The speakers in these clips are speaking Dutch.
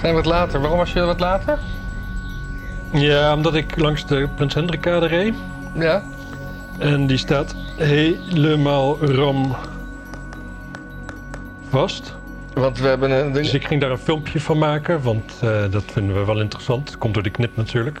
Zijn we wat later? Waarom was je wat later? Ja, omdat ik langs de Prins Hendrikkade reed. Ja. En die staat helemaal ram vast. Want we hebben een Dus ding. ik ging daar een filmpje van maken, want eh, dat vinden we wel interessant. Komt door de knip natuurlijk.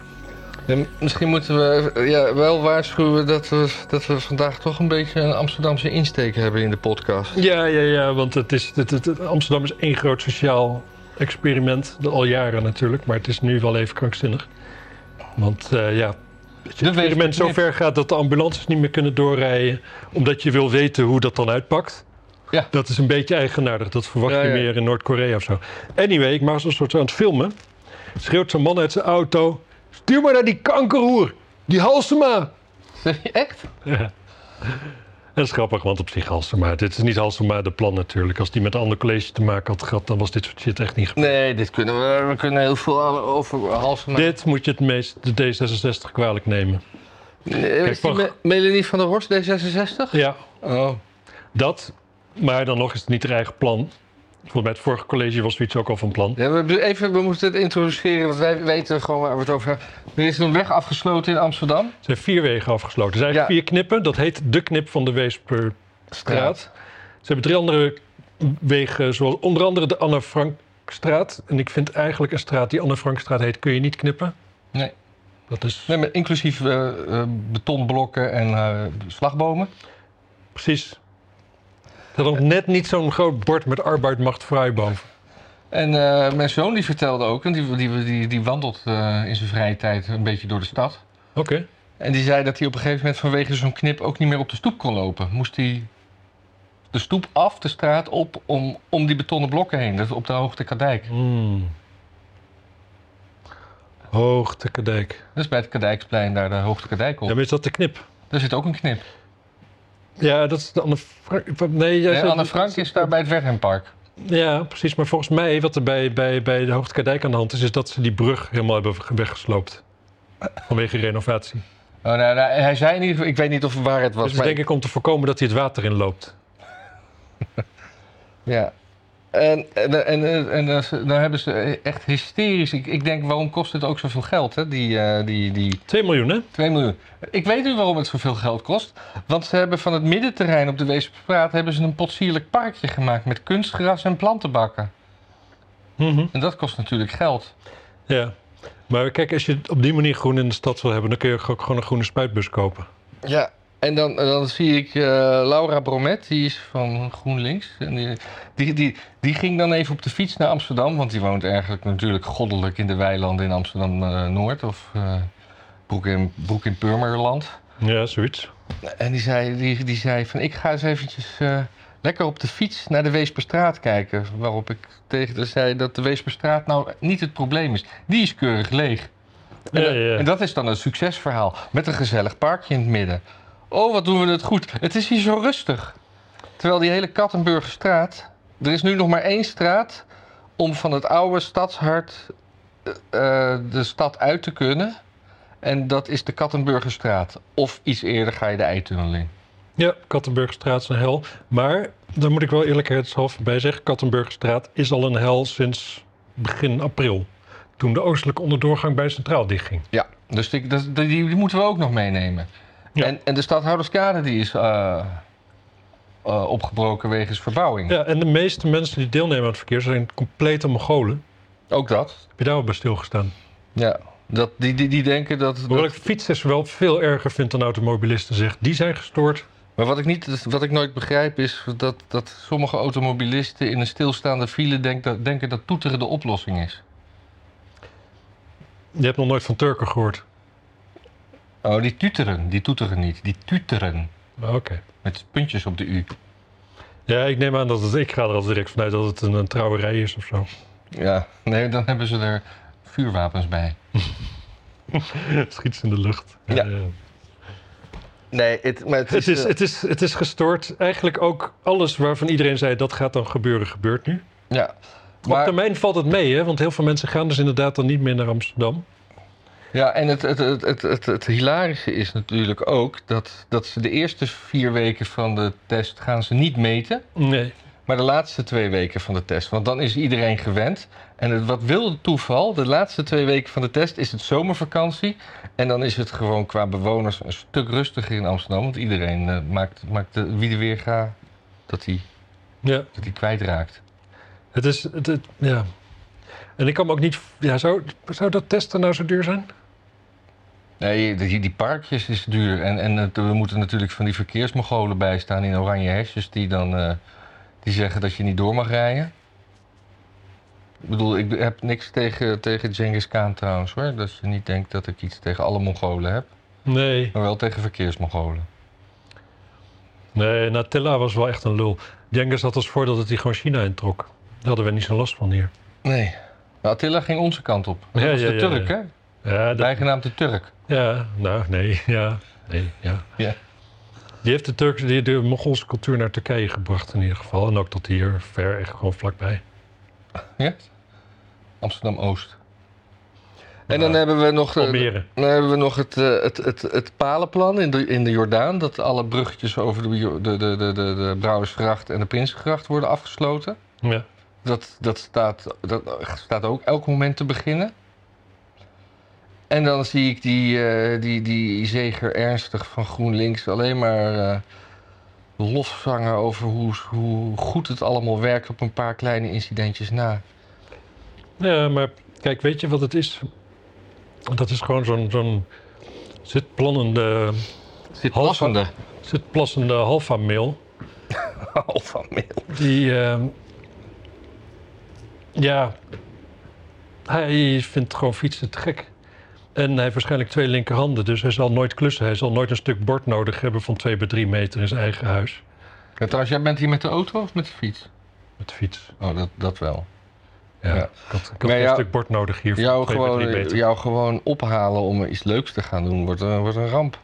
Ja, Misschien moeten we eh, ja, wel waarschuwen dat we, dat we vandaag toch een beetje een Amsterdamse insteek hebben in de podcast. Ja, ja, ja, want het is, het, het- het- Amsterdam is één groot sociaal experiment. Dat Al jaren natuurlijk, maar het is nu wel even krankzinnig. Want eh, ja, het experiment weetknip. zover gaat dat de ambulances niet meer kunnen doorrijden. Omdat je wil weten hoe dat dan uitpakt. Ja. Dat is een beetje eigenaardig. Dat verwacht Ja, je ja. meer in Noord-Korea of zo. Anyway, ik was een soort aan het filmen. Schreeuwt zo'n man uit zijn auto. Stuur maar naar die kankerhoer. Die Halsema. Echt? Ja. Dat is grappig, want op zich Halsema. Dit is niet Halsema de plan natuurlijk. Als die met een ander college te maken had gehad, dan was dit soort shit echt niet gebeurd. Nee, dit kunnen we. We kunnen heel veel over halsen. Dit moet je het meest de D66 kwalijk nemen. Nee, is die Kijk, Me- Melanie van der Horst, D66? Ja, Oh. dat. Maar dan nog is het niet haar eigen plan. Volgens mij het vorige college was zoiets ook al van plan. Ja, we, even, we moeten het introduceren, want wij weten gewoon waar we het over hebben. Er is een weg afgesloten in Amsterdam. Er zijn vier wegen afgesloten. Er zijn Ja. vier knippen. Dat heet de knip van de Weesperstraat. Straat. Ze hebben drie andere wegen, zoals onder andere de Anne Frankstraat. En ik vind eigenlijk een straat die Anne Frankstraat heet, kun je niet knippen. Nee. Dat is Nee, maar inclusief eh, eh, betonblokken en eh, slagbomen. Precies. Er had nog net niet zo'n groot bord met arbeid macht vrij boven. En eh, mijn zoon die vertelde ook, en die, die, die, die wandelt eh, in zijn vrije tijd een beetje door de stad. Oké. En die zei dat hij op een gegeven moment vanwege zo'n knip ook niet meer op de stoep kon lopen. Moest hij de stoep af, de straat op, om, om die betonnen blokken heen. Dat is op de hoogte Kadijk. Hmm. Hoogte kadijk. Dat is bij het Kadijksplein, daar de hoogte Kadijk op. Ja, maar is dat de knip? Daar zit ook een knip. Ja, dat is de Anne Frank. Nee, jij Nee, zei- Anne Frank is daar bij het Wergenpark. Ja, precies. Maar volgens mij, wat er bij, bij, bij de Hoogte Kadijk aan de hand is, is dat ze die brug helemaal hebben weggesloopt. Vanwege renovatie. Oh, nou, nou, hij zei in ieder geval, ik weet niet of het waar het was. Dus maar denk ik om te voorkomen dat hij het water inloopt. Ja. En, en, en, en, en eh, ze- dan hebben ze echt hysterisch. Ik, ik denk, waarom kost het ook zoveel geld, hè? Die, eh, die, die 2 miljoen, hè? 2 miljoen. Ik weet nu waarom het zoveel geld kost. Want ze hebben van het middenterrein op de Weesperstraat... hebben ze een potsierlijk parkje gemaakt met kunstgras en plantenbakken. Mhm. En dat kost natuurlijk geld. Ja. Maar kijk, als je het op die manier groen in de stad wil hebben, dan kun je ook gewoon een groene spuitbus kopen. Ja, en dan, dan zie ik eh, Laura Bromet, die is van GroenLinks. En die, die, die, die ging dan even op de fiets naar Amsterdam, want die woont eigenlijk natuurlijk goddelijk in de weilanden in Amsterdam-Noord of eh, Broek, in, Broek in Purmerland. Ja, zoiets. En die zei, die, die zei van ik ga eens eventjes eh, lekker op de fiets naar de Weesperstraat kijken. Waarop ik tegen haar zei dat de Weesperstraat nou niet het probleem is. Die is keurig leeg. En, Ja, dat- ja. en dat is dan een succesverhaal. Met een gezellig parkje in het midden. Oh, wat doen we het goed. Het is hier zo rustig. Terwijl die hele Kattenburgerstraat... Er is nu nog maar één straat om van het oude stadshart eh, eh, de stad uit te kunnen. En dat is de Kattenburgerstraat. Of iets eerder ga je de Eitunnel in. Ja, Kattenburgstraat is een hel. Maar, daar moet ik wel eerlijkheidshalve bij zeggen... Kattenburgstraat is al een hel sinds begin april. Toen de oostelijke onderdoorgang bij Centraal dichtging. Ja, dus die, dat- die, die moeten we ook nog meenemen. Ja. En, en de stadhouderskade die is eh, eh, opgebroken wegens verbouwing. Ja, en de meeste mensen die deelnemen aan het verkeer... zijn complete Mongolen. Ook dat. Heb je daar wel bij stilgestaan? Ja, dat, die, die, die denken dat... Hoewel dat ik fietsers wel veel erger vind dan automobilisten zegt. Die zijn gestoord. maar wat ik, niet, wat ik nooit begrijp is dat, dat sommige automobilisten in een stilstaande file denk dat, denken dat toeteren de oplossing is. Je hebt nog nooit van Turken gehoord. Oh, die tuteren, die toeteren niet. Die tuteren, Maar Oké. met puntjes op de U. Ja, ik neem aan dat het... Ik ga er al direct vanuit dat het een, een trouwerij is of zo. Ja, nee, dan hebben ze er vuurwapens bij. Schiets in de lucht. Ja. Nee, het, eh, maar Het is, het, is, het is gestoord. Eigenlijk ook alles waarvan iedereen zei dat gaat dan gebeuren, gebeurt nu. ja, Op maar, termijn valt het mee, hè? want heel veel mensen gaan dus inderdaad dan niet meer naar Amsterdam. ja, en het, het, het, het, het, het hilarische is natuurlijk ook dat, dat ze de eerste vier weken van de test gaan ze niet meten. Nee. maar de laatste twee weken van de test. Want dan is iedereen gewend. En het, wat wil het toeval? De laatste twee weken van de test is het zomervakantie. En dan is het gewoon qua bewoners een stuk rustiger in Amsterdam. Want iedereen eh, maakt, maakt de, wie er weer gaat, dat hij Ja, dat die kwijtraakt. het is. Het, het- ja. En ik kan me ook niet. Ja, zou, zou dat testen nou zo duur zijn? Nee, die, die parkjes is duur. En, en het- we moeten natuurlijk van die verkeersmogolen bijstaan in oranje hesjes die dan eh, die zeggen dat je niet door mag rijden. Ik bedoel, ik heb niks tegen, tegen Genghis Khan trouwens hoor. Dat je niet denkt dat ik iets tegen alle Mongolen heb. Nee. Maar wel tegen verkeersmogolen. Nee, Natilla was wel echt een lul. Genghis had als voordeel dat hij gewoon China introk. Daar hadden we niet zo last van hier. Nee. Maar Attila ging onze kant op. Dat Ja, was ja, de ja, Turk ja. hè? Ja, dat- Bijgenaamd de Turk. ja nou, nee. Ja, nee, ja. Ja. Die heeft de, Turkse, die, de Mongoolse cultuur naar Turkije gebracht in ieder geval. En ook tot hier, ver, echt gewoon vlakbij. Ja? Amsterdam-Oost. En Ja. dan hebben we nog... eh, Almere. Dan hebben we nog het, eh, het, het, het palenplan in de, in de Jordaan. Dat alle bruggetjes over de, Jo- de, de, de, de, de Brouwersgracht en de Prinsengracht worden afgesloten. Ja. Dat, dat, staat, dat staat ook elk moment te beginnen. En dan zie ik die, eh, die, die zeger ernstig van GroenLinks alleen maar eh lof zangen over hoe, hoe goed het allemaal werkt op een paar kleine incidentjes na. ja, maar kijk, weet je wat het is? Dat is gewoon zo'n zo'n zitplannende, Zit Half- passende. zitplassende alfa-mail. van meel. Die, ehm, ja, hij vindt gewoon fietsen te gek. En hij heeft waarschijnlijk twee linkerhanden, dus hij zal nooit klussen. Hij zal nooit een stuk bord nodig hebben van twee bij drie meter in zijn eigen huis. Ja, trouwens, jij bent hier met de auto of met de fiets? Met fiets. Oh, dat, dat wel. Ja. Ja, Ik had, ik had Maar een jou- stuk bord nodig hier. Jou twee bij drie gewoon, meter. jou gewoon ophalen om iets leuks te gaan doen wordt, een- wordt een ramp.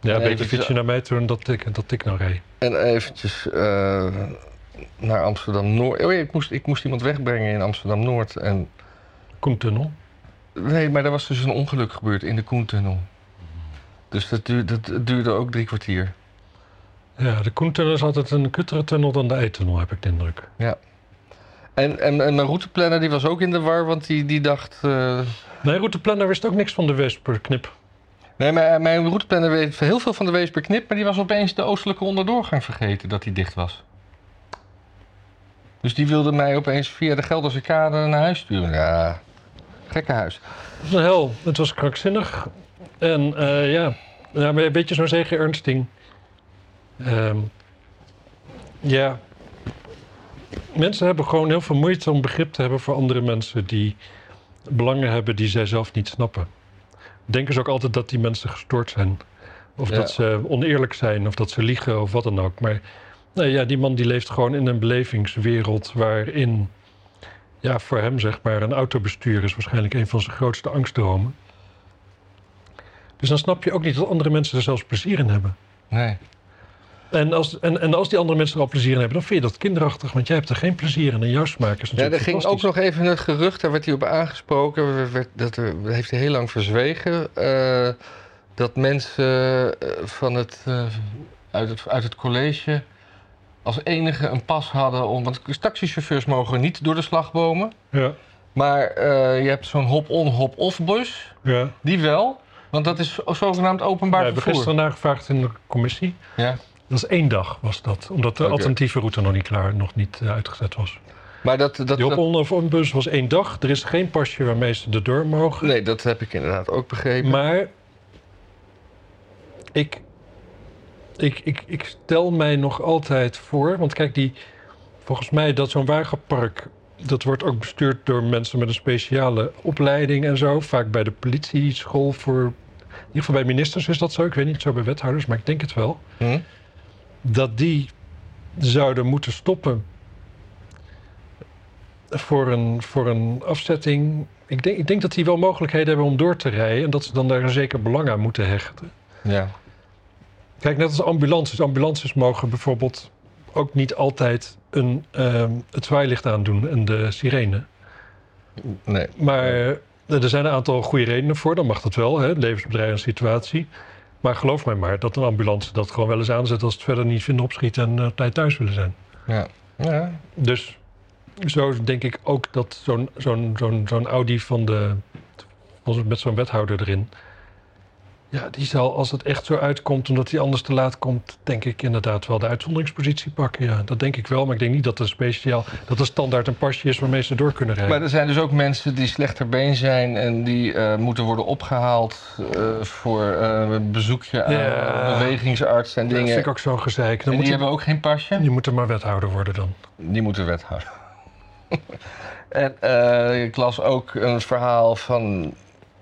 Ja, Nee, een dus- beetje dat is- fietsje naar mij toe en dat ik, dat ik nou reed. En eventjes eh, naar Amsterdam-Noord. Oh ja, ik moest, ik moest iemand wegbrengen in Amsterdam-Noord. En... Koentunnel. Nee, maar er was dus een ongeluk gebeurd in de Koentunnel. Dus dat duurde, dat duurde ook drie kwartier. Ja, de Koentunnel is altijd een kuttere tunnel dan de Eitunnel, heb ik de indruk. En, en, en mijn routeplanner die was ook in de war, want die, die dacht... eh, Nee, routeplanner wist ook niks van de Westperknip. Nee, mijn, mijn routeplanner weet heel veel van de Weesper Knip, maar die was opeens de oostelijke onderdoorgang vergeten dat die dicht was. Dus die wilde mij opeens via de Gelderse kade naar huis sturen. Ja, gekke huis. Het was een hel. Het was krankzinnig. En eh, ja, ja maar een beetje zo'n zegen Ernsting. Ehm, ja. Mensen hebben gewoon heel veel moeite om begrip te hebben voor andere mensen die belangen hebben die zij zelf niet snappen. Denken ze ook altijd dat die mensen gestoord zijn. Of Ja. dat ze oneerlijk zijn, of dat ze liegen, of wat dan ook. Maar nou ja, die man die leeft gewoon in een belevingswereld waarin, ja, voor hem zeg maar, een autobestuur is waarschijnlijk een van zijn grootste angstdromen. Dus dan snap je ook niet dat andere mensen er zelfs plezier in hebben. Nee. En als, en, en als die andere mensen er al plezier in hebben, dan vind je dat kinderachtig, want jij hebt er geen plezier in. En jouw smaak is Ja, natuurlijk er ging ook nog even het gerucht, daar werd hij op aangesproken, werd- werd- dat er- dat heeft hij heel lang verzwegen, eh, dat mensen eh, van het, eh, uit het, uit het college als enige een pas hadden om, want taxichauffeurs mogen niet door de slagbomen. Ja, Maar eh, je hebt zo'n hop-on, hop-off bus. ja. Die wel, want dat is zogenaamd ja openbaar we hebben vervoer. gisteren nagevraagd in de commissie. Ja. Dat is één dag was dat, omdat de Oké. alternatieve route nog niet klaar, nog niet eh, uitgezet was. Maar dat, dat, Die op dat- of een bus was één dag. Er is geen pasje waarmee ze de deur mogen. nee, dat heb ik inderdaad ook begrepen. Maar ik, ik, ik, ik stel mij nog altijd voor, want kijk, die, volgens mij dat zo'n wagenpark, dat wordt ook bestuurd door mensen met een speciale opleiding en zo. Vaak bij de politieschool voor, in ieder geval bij ministers is dat zo. Ik weet niet zo bij wethouders, maar ik denk het wel. Hm? Dat die zouden moeten stoppen voor een, voor een afzetting. Ik denk, ik denk dat die wel mogelijkheden hebben om door te rijden en dat ze dan daar een zeker belang aan moeten hechten. Ja. Kijk, net als ambulances. Ambulances mogen bijvoorbeeld ook niet altijd een, ehm, het zwaailicht aandoen en de sirene. Nee. Maar eh, er zijn een aantal goede redenen voor, dan mag dat wel, hè? levensbedreigende situatie. Maar geloof mij maar dat een ambulance dat gewoon wel eens aanzet als ze het verder niet vinden opschieten en eh, op tijd thuis willen zijn. Ja. Ja. Dus zo denk ik ook dat zo'n zo'n zo'n zo'n Audi van de. met zo'n wethouder erin. Ja, die zal als het echt zo uitkomt, omdat hij anders te laat komt, denk ik inderdaad wel de uitzonderingspositie pakken. Ja, dat denk ik wel. Maar ik denk niet dat er speciaal dat er standaard een pasje is waarmee ze door kunnen rijden. Maar er zijn dus ook mensen die slechter been zijn en die eh, moeten worden opgehaald eh, voor eh, een bezoekje aan Ja. een bewegingsarts en dat dingen. vind ik ook zo'n gezeik. Dan en moet die je, hebben ook geen pasje. je moet er maar wethouder worden dan. Die moeten wethouder. en eh, ik las ook een verhaal van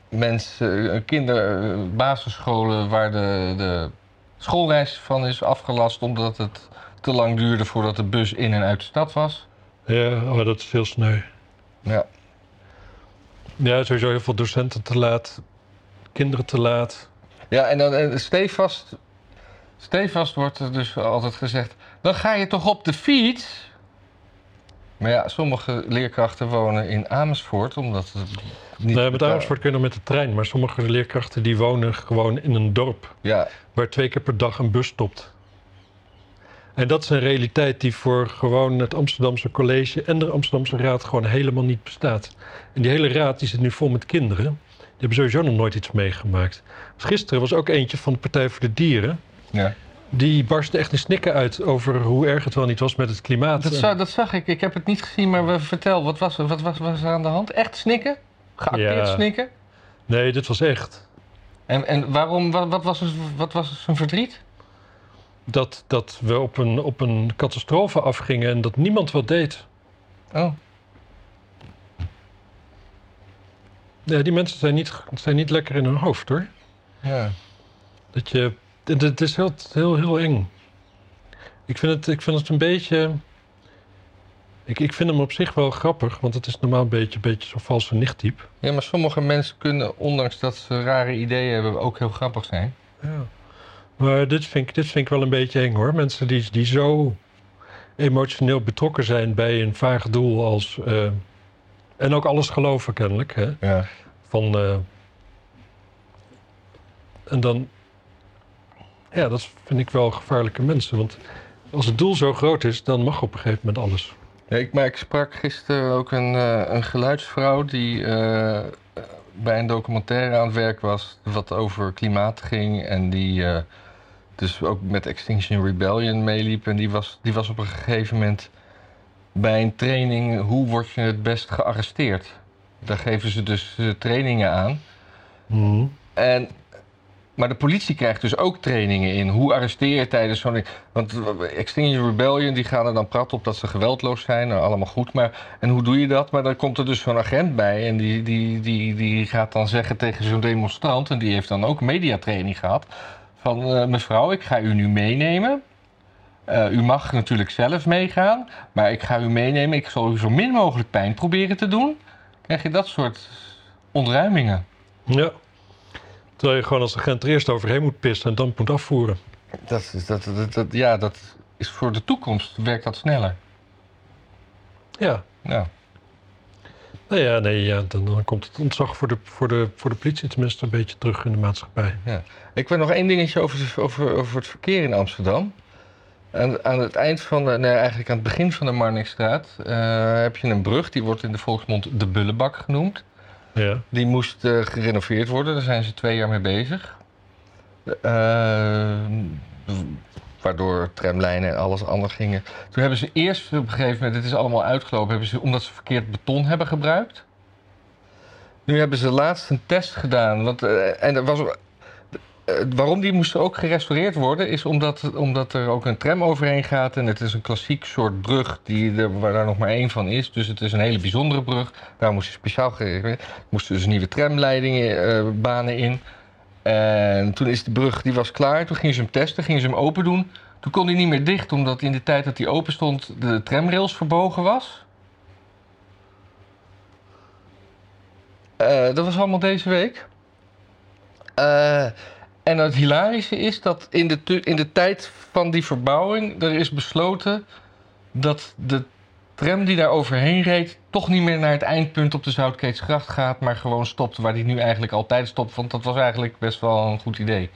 mensen, eh, kinder, eh, basisscholen waar de, de schoolreis van is afgelast omdat het te lang duurde voordat de bus in en uit de stad was. Ja, maar dat is heel sneu. Ja. Ja, sowieso heel veel docenten te laat, kinderen te laat. Ja, en dan eh, stevast, stevast wordt er dus altijd gezegd, dan ga je toch op de fiets? Maar ja, sommige leerkrachten wonen in Amersfoort, omdat het niet... Nee, met Amersfoort kun je nog met de trein, maar sommige leerkrachten die wonen gewoon in een dorp Ja, waar twee keer per dag een bus stopt. En dat is een realiteit die voor gewoon het Amsterdamse college en de Amsterdamse raad gewoon helemaal niet bestaat. En die hele raad die zit nu vol met kinderen. Die hebben sowieso nog nooit iets meegemaakt. Gisteren was ook eentje van de Partij voor de Dieren. ja. Die barstte echt in snikken uit over hoe erg het wel niet was met het klimaat. Dat, za- dat zag ik. Ik heb het niet gezien, maar we- vertel, wat was, er- wat was, was er aan de hand? Echt snikken? Geacteerd Ja. snikken? Nee, dit was echt. En, en waarom, wat, wat, was, het- wat was zijn verdriet? dat, dat we op een, op een catastrofe afgingen en dat niemand wat deed. Oh, Ja, die mensen zijn niet, zijn niet lekker in hun hoofd hoor. ja. Dat je, het, het is heel, heel, heel eng. Ik vind het, ik vind het een beetje. Ik, ik vind hem op zich wel grappig, want het is normaal een beetje, beetje zo'n valse nichttype. Ja, maar sommige mensen kunnen, ondanks dat ze rare ideeën hebben, ook heel grappig zijn. Ja. Maar dit vind, ik, dit vind ik wel een beetje eng hoor. Mensen die, die zo emotioneel betrokken zijn bij een vaag doel als. eh, en ook alles geloven kennelijk. Hè? Ja. Van. eh, en dan. Ja, dat vind ik wel gevaarlijke mensen. Want als het doel zo groot is, dan mag op een gegeven moment alles. ik, maar ik sprak gisteren ook een, eh, een geluidsvrouw die eh, bij een documentaire aan het werk was, wat over klimaat ging en die... eh, dus ook met Extinction Rebellion meeliep. En die was, die was op een gegeven moment bij een training hoe word je het best gearresteerd. Daar geven ze dus eh, trainingen aan. En, maar de politie krijgt dus ook trainingen in. Hoe arresteer je tijdens zo'n... ding? Want eh, Extinction Rebellion, die gaan er dan praten op dat ze geweldloos zijn. Nou, allemaal goed, maar... En hoe doe je dat? Maar dan komt er dus zo'n agent bij... en die, die, die, die gaat dan zeggen tegen zo'n demonstrant... en die heeft dan ook mediatraining gehad... van eh, mevrouw, ik ga u nu meenemen... Eh, u mag natuurlijk zelf meegaan, maar ik ga u meenemen. Ik zal u zo min mogelijk pijn proberen te doen. Krijg je dat soort ontruimingen? Ja. Terwijl je gewoon als agent er eerst overheen moet pissen en dan moet afvoeren. Dat, is- dat, dat, dat- ja, dat is voor de toekomst werkt dat sneller. Ja. Ja. Nou ja, nee, ja, dan, dan komt het ontzag voor de, voor, de, voor de politie tenminste een beetje terug in de maatschappij. Ik wil nog één dingetje over, over, over het verkeer in Amsterdam. Aan, aan het eind van de, nee, eigenlijk aan het begin van de Marnixstraat eh, heb je een brug, die wordt in de volksmond de Bullebak genoemd. Ja. Die moest eh, gerenoveerd worden, daar zijn ze twee jaar mee bezig. Eh, waardoor tramlijnen en alles anders gingen. Toen hebben ze eerst op een gegeven moment, dit is allemaal uitgelopen, hebben ze, omdat ze verkeerd beton hebben gebruikt. Nu hebben ze laatst een test gedaan. Want, eh, en er was, eh, waarom die moesten ook gerestaureerd worden, is omdat, omdat er ook een tram overheen gaat. En het is een klassiek soort brug die er, waar daar nog maar één van is. Dus het is een hele bijzondere brug. Daar moest je speciaal gerestaureerd moesten dus nieuwe tramleidingen, eh, banen in. En toen is de brug, die was klaar. Toen gingen ze hem testen, gingen ze hem open doen. Toen kon hij niet meer dicht, omdat in de tijd dat hij open stond de tramrails verbogen was. Eh, dat was allemaal deze week. Eh, en het hilarische is dat in de, tu- in de tijd van die verbouwing er is besloten dat de tram die daar overheen reed, toch niet meer naar het eindpunt op de Zoutkeetsgracht gaat, maar gewoon stopt waar die nu eigenlijk altijd stopt. Want dat was eigenlijk best wel een goed idee.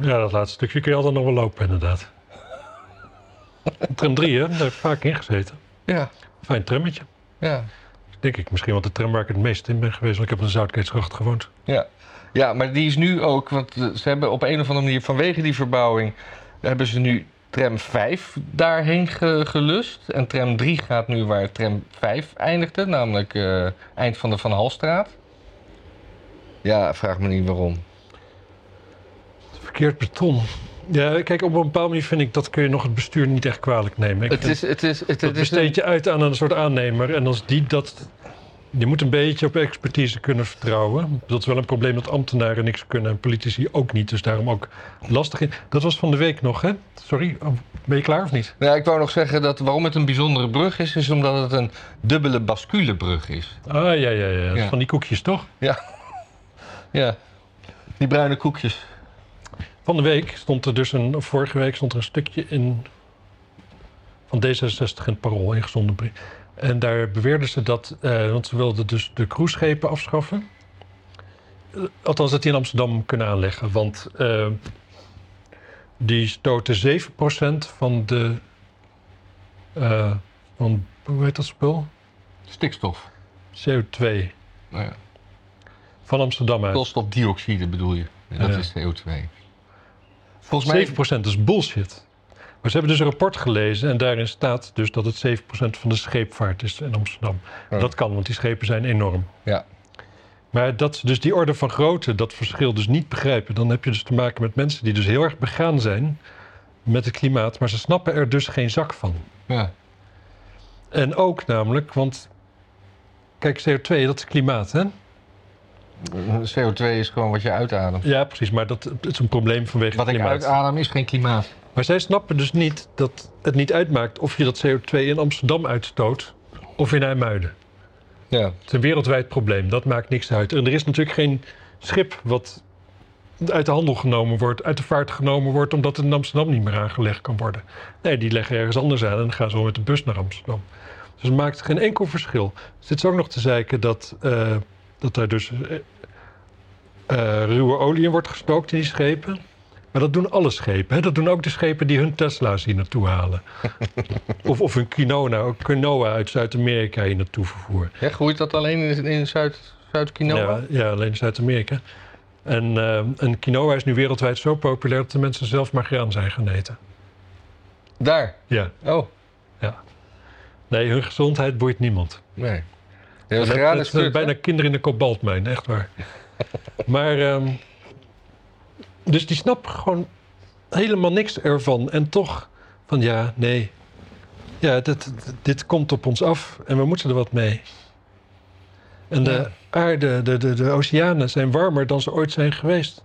Ja, dat laatste stukje kun je altijd nog wel lopen, inderdaad. Tram 3, hè? Daar heb ik vaak in gezeten. Ja, Fijn trammetje. ja, Denk ik misschien wel de tram waar ik het meest in ben geweest. Want ik heb op de Zoutkeetsgracht gewoond. ja. Ja, maar die is nu ook, want eh, ze hebben op een of andere manier vanwege die verbouwing, hebben ze nu tram 5 daarheen ge- gelust. En tram 3 gaat nu waar tram 5 eindigde, namelijk eh, eind van de Van Halstraat. Ja, vraag me niet waarom. Verkeerd beton. Ja, kijk, op een bepaalde manier vind ik dat kun je nog het bestuur niet echt kwalijk nemen. Ik Het vind- is, het is, het, het Dat is een- besteed je uit aan een soort aannemer. En als die dat. Je moet een beetje op expertise kunnen vertrouwen. Dat is wel een probleem dat ambtenaren niks kunnen en politici ook niet. Dus daarom ook lastig in. Dat was van de week nog, hè? Sorry, oh, ben je klaar of niet? Nou, ik wou nog zeggen dat waarom het een bijzondere brug is, is omdat het een dubbele basculebrug is. Ah ja, ja, ja. Dat is Ja. Van die koekjes toch? Ja, die bruine koekjes. Van de week stond er dus een. of Vorige week stond er een stukje in. van D66 in het Parool, ingezonden brief. En daar beweerden ze dat. eh, want ze wilden dus de cruiseschepen afschaffen. Eh, althans, dat die in Amsterdam kunnen aanleggen. Want eh, die stoten 7% van de. eh, van, hoe heet dat spul? Stikstof. CO2 Nou ja, van Amsterdam uit. koolstofdioxide bedoel je. Dat Ja. is CO2. Volgens mij... 7% is bullshit. Maar ze hebben dus een rapport gelezen en daarin staat dus dat het 7% van de scheepvaart is in Amsterdam. Ja. Dat kan, want die schepen zijn enorm. Ja. Maar dat ze dus die orde van grootte, dat verschil dus niet begrijpen, dan heb je dus te maken met mensen die dus heel erg begaan zijn met het klimaat, maar ze snappen er dus geen zak van. Ja. En ook namelijk, want kijk, CO2, dat is klimaat, hè? CO2 is gewoon wat je uitademt. Ja, precies, maar dat het is een probleem vanwege Wat het ik klimaat. uitadem is geen klimaat. Maar zij snappen dus niet dat het niet uitmaakt of je dat CO2 in Amsterdam uitstoot of in IJmuiden. Ja. Het is een wereldwijd probleem, dat maakt niks uit. En er is natuurlijk geen schip wat uit de handel genomen wordt, uit de vaart genomen wordt, omdat het in Amsterdam niet meer aangelegd kan worden. Nee, die leggen ergens anders aan en dan gaan ze wel met de bus naar Amsterdam. Dus het maakt geen enkel verschil. Zit ze ook nog te zeiken dat, eh, dat er dus eh, eh, ruwe olie in wordt gestookt in die schepen? Maar dat doen alle schepen. Hè? Dat doen ook de schepen die hun Tesla's hier naartoe halen. of, of hun quinoa, quinoa uit Zuid-Amerika hier naartoe vervoeren. ja. Groeit dat alleen in, in Zuid- Zuid-Quinoa? Ja, ja alleen Zuid-Amerika. En, ehm, en quinoa is nu wereldwijd zo populair dat de mensen zelf maar graan zijn gaan eten. Daar. Ja. Oh, Nee, hun gezondheid boeit niemand. nee. Ja, Dat het graan dat is zijn kut, bijna hè? kinderen in de kobaltmijn, echt waar. maar, ehm, dus die snappen gewoon helemaal niks ervan. En toch van ja, nee, ja, dit, dit komt op ons af en we moeten er wat mee. En de Ja. aarde, de, de, de oceanen zijn warmer dan ze ooit zijn geweest.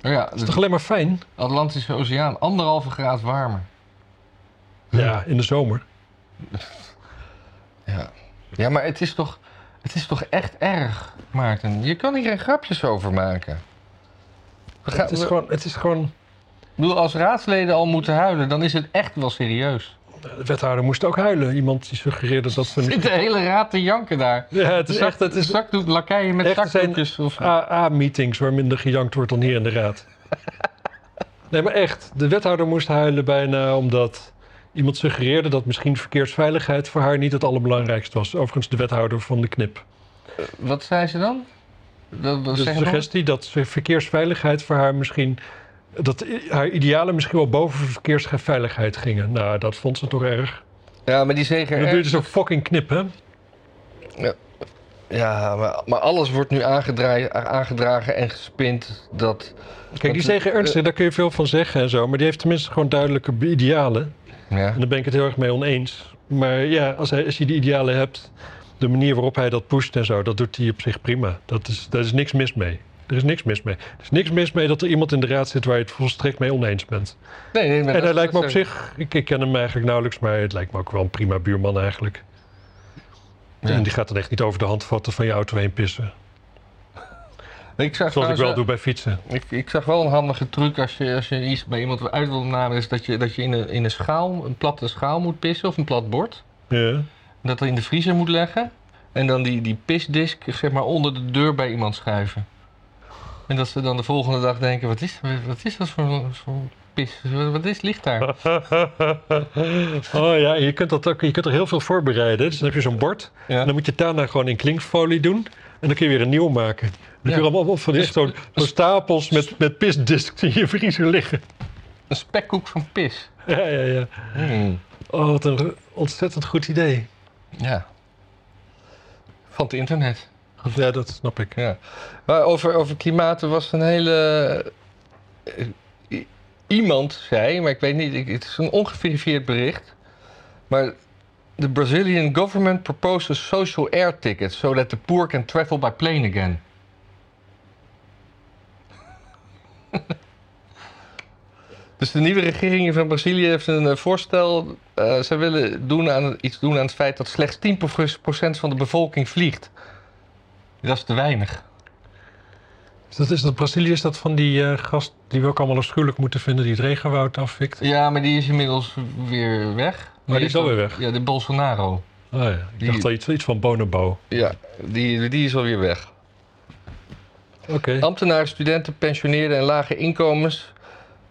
Ja, Dat is toch de alleen maar fijn? Atlantische Oceaan. Anderhalve graad warmer. Ja, in de zomer. Ja, ja maar het is, toch, het is toch echt erg, Maarten? Je kan hier geen grapjes over maken. We gaan, het, is we- gewoon, het is gewoon. ik bedoel, als raadsleden al moeten huilen, dan is het echt wel serieus. De wethouder moest ook huilen. Iemand die suggereerde dat ze. Zit de hele raad te janken daar. Ja, het is echt. Het is Zakdoek, lakijen met Echt, er zijn- Ah. zakdoekjes. Of... AA-meetings waar minder gejankt wordt dan hier in de raad. Nee, maar echt. De wethouder moest huilen bijna omdat iemand suggereerde dat misschien verkeersveiligheid voor haar niet het allerbelangrijkste was. Overigens de wethouder van de KNIP. Wat zei ze dan? Dat, dat Dus de zeggen nog? suggestie dat ze- verkeersveiligheid voor haar misschien... dat i- haar idealen misschien wel boven verkeersveiligheid gingen. Nou, dat vond ze toch erg. Ja, maar die En zeggen dat doe je erg. dus ook fucking knip, hè? Ja, maar, maar alles wordt nu aangedraai- aangedragen en gespind dat... Kijk, die zegen eh, ernstig, daar kun je veel van zeggen en zo. Maar die heeft tenminste gewoon duidelijke be- idealen. Ja, En daar ben ik het heel erg mee oneens. Maar ja, als, hij, als je die idealen hebt, de manier waarop hij dat pusht en zo, dat doet hij op zich prima. Dat is, daar is niks mis mee. Er is niks mis mee. Er is niks mis mee dat er iemand in de raad zit waar je het volstrekt mee oneens bent. nee, nee, maar en dat- hij lijkt me dat op zijn- zich, ik, ik ken hem eigenlijk nauwelijks, maar het lijkt me ook wel een prima buurman eigenlijk. Ja. En die gaat dan echt niet over de hand vatten van je auto heen pissen. Ik zag Zoals ik trouwens, wel eh, doe bij fietsen. Ik, ik zag wel een handige truc als je, als je iets bij iemand uit wil namen, is dat je, dat je in, een, in een schaal, een platte schaal moet pissen of een plat bord. Ja. Dat er in de vriezer moet leggen. En dan die, die pisdisk zeg maar onder de deur bij iemand schuiven. En dat ze dan de volgende dag denken, wat is, wat is dat voor, voor pissen. Wat- Wat is, ligt daar? oh ja, je kunt, dat ook, je kunt er heel veel voorbereiden. Dus dan heb je zo'n bord. En Ja. dan moet je het daarna gewoon in klinkfolie doen. En dan kun je weer een nieuw maken. Dan kun je allemaal op van Dus- echt zo'n zo'n stapels met, met pisdiscs in je vriezer liggen. Een spekkoek van pis. Ja, ja, ja. Hmm. Oh, wat een ontzettend goed idee. Ja. Van het internet. Ja, dat snap ik. Ja. Maar over, over klimaat er was een hele. eh, i- Iemand zei, maar ik weet niet, ik- het is een ongeverifieerd bericht. Maar the Brazilian government proposes social air tickets so that the poor can travel by plane again. dus de nieuwe regering van Brazilië heeft een eh, voorstel. eh zij willen doen aan, iets doen aan het feit dat slechts 10% van de bevolking vliegt. Dat is te weinig. Dus dat is dat Brazilië is dat van die eh, gast die we ook allemaal afschuwelijk moeten vinden, die het regenwoud afvikt. Ja, maar die is inmiddels weer weg. die is alweer weg. Ja, de Bolsonaro. Oh, ja. Ik Die- dacht al iets, iets van Bonobo. Ja, die, die is alweer weg. Oké. Ambtenaren, studenten, pensioneerden en lage inkomens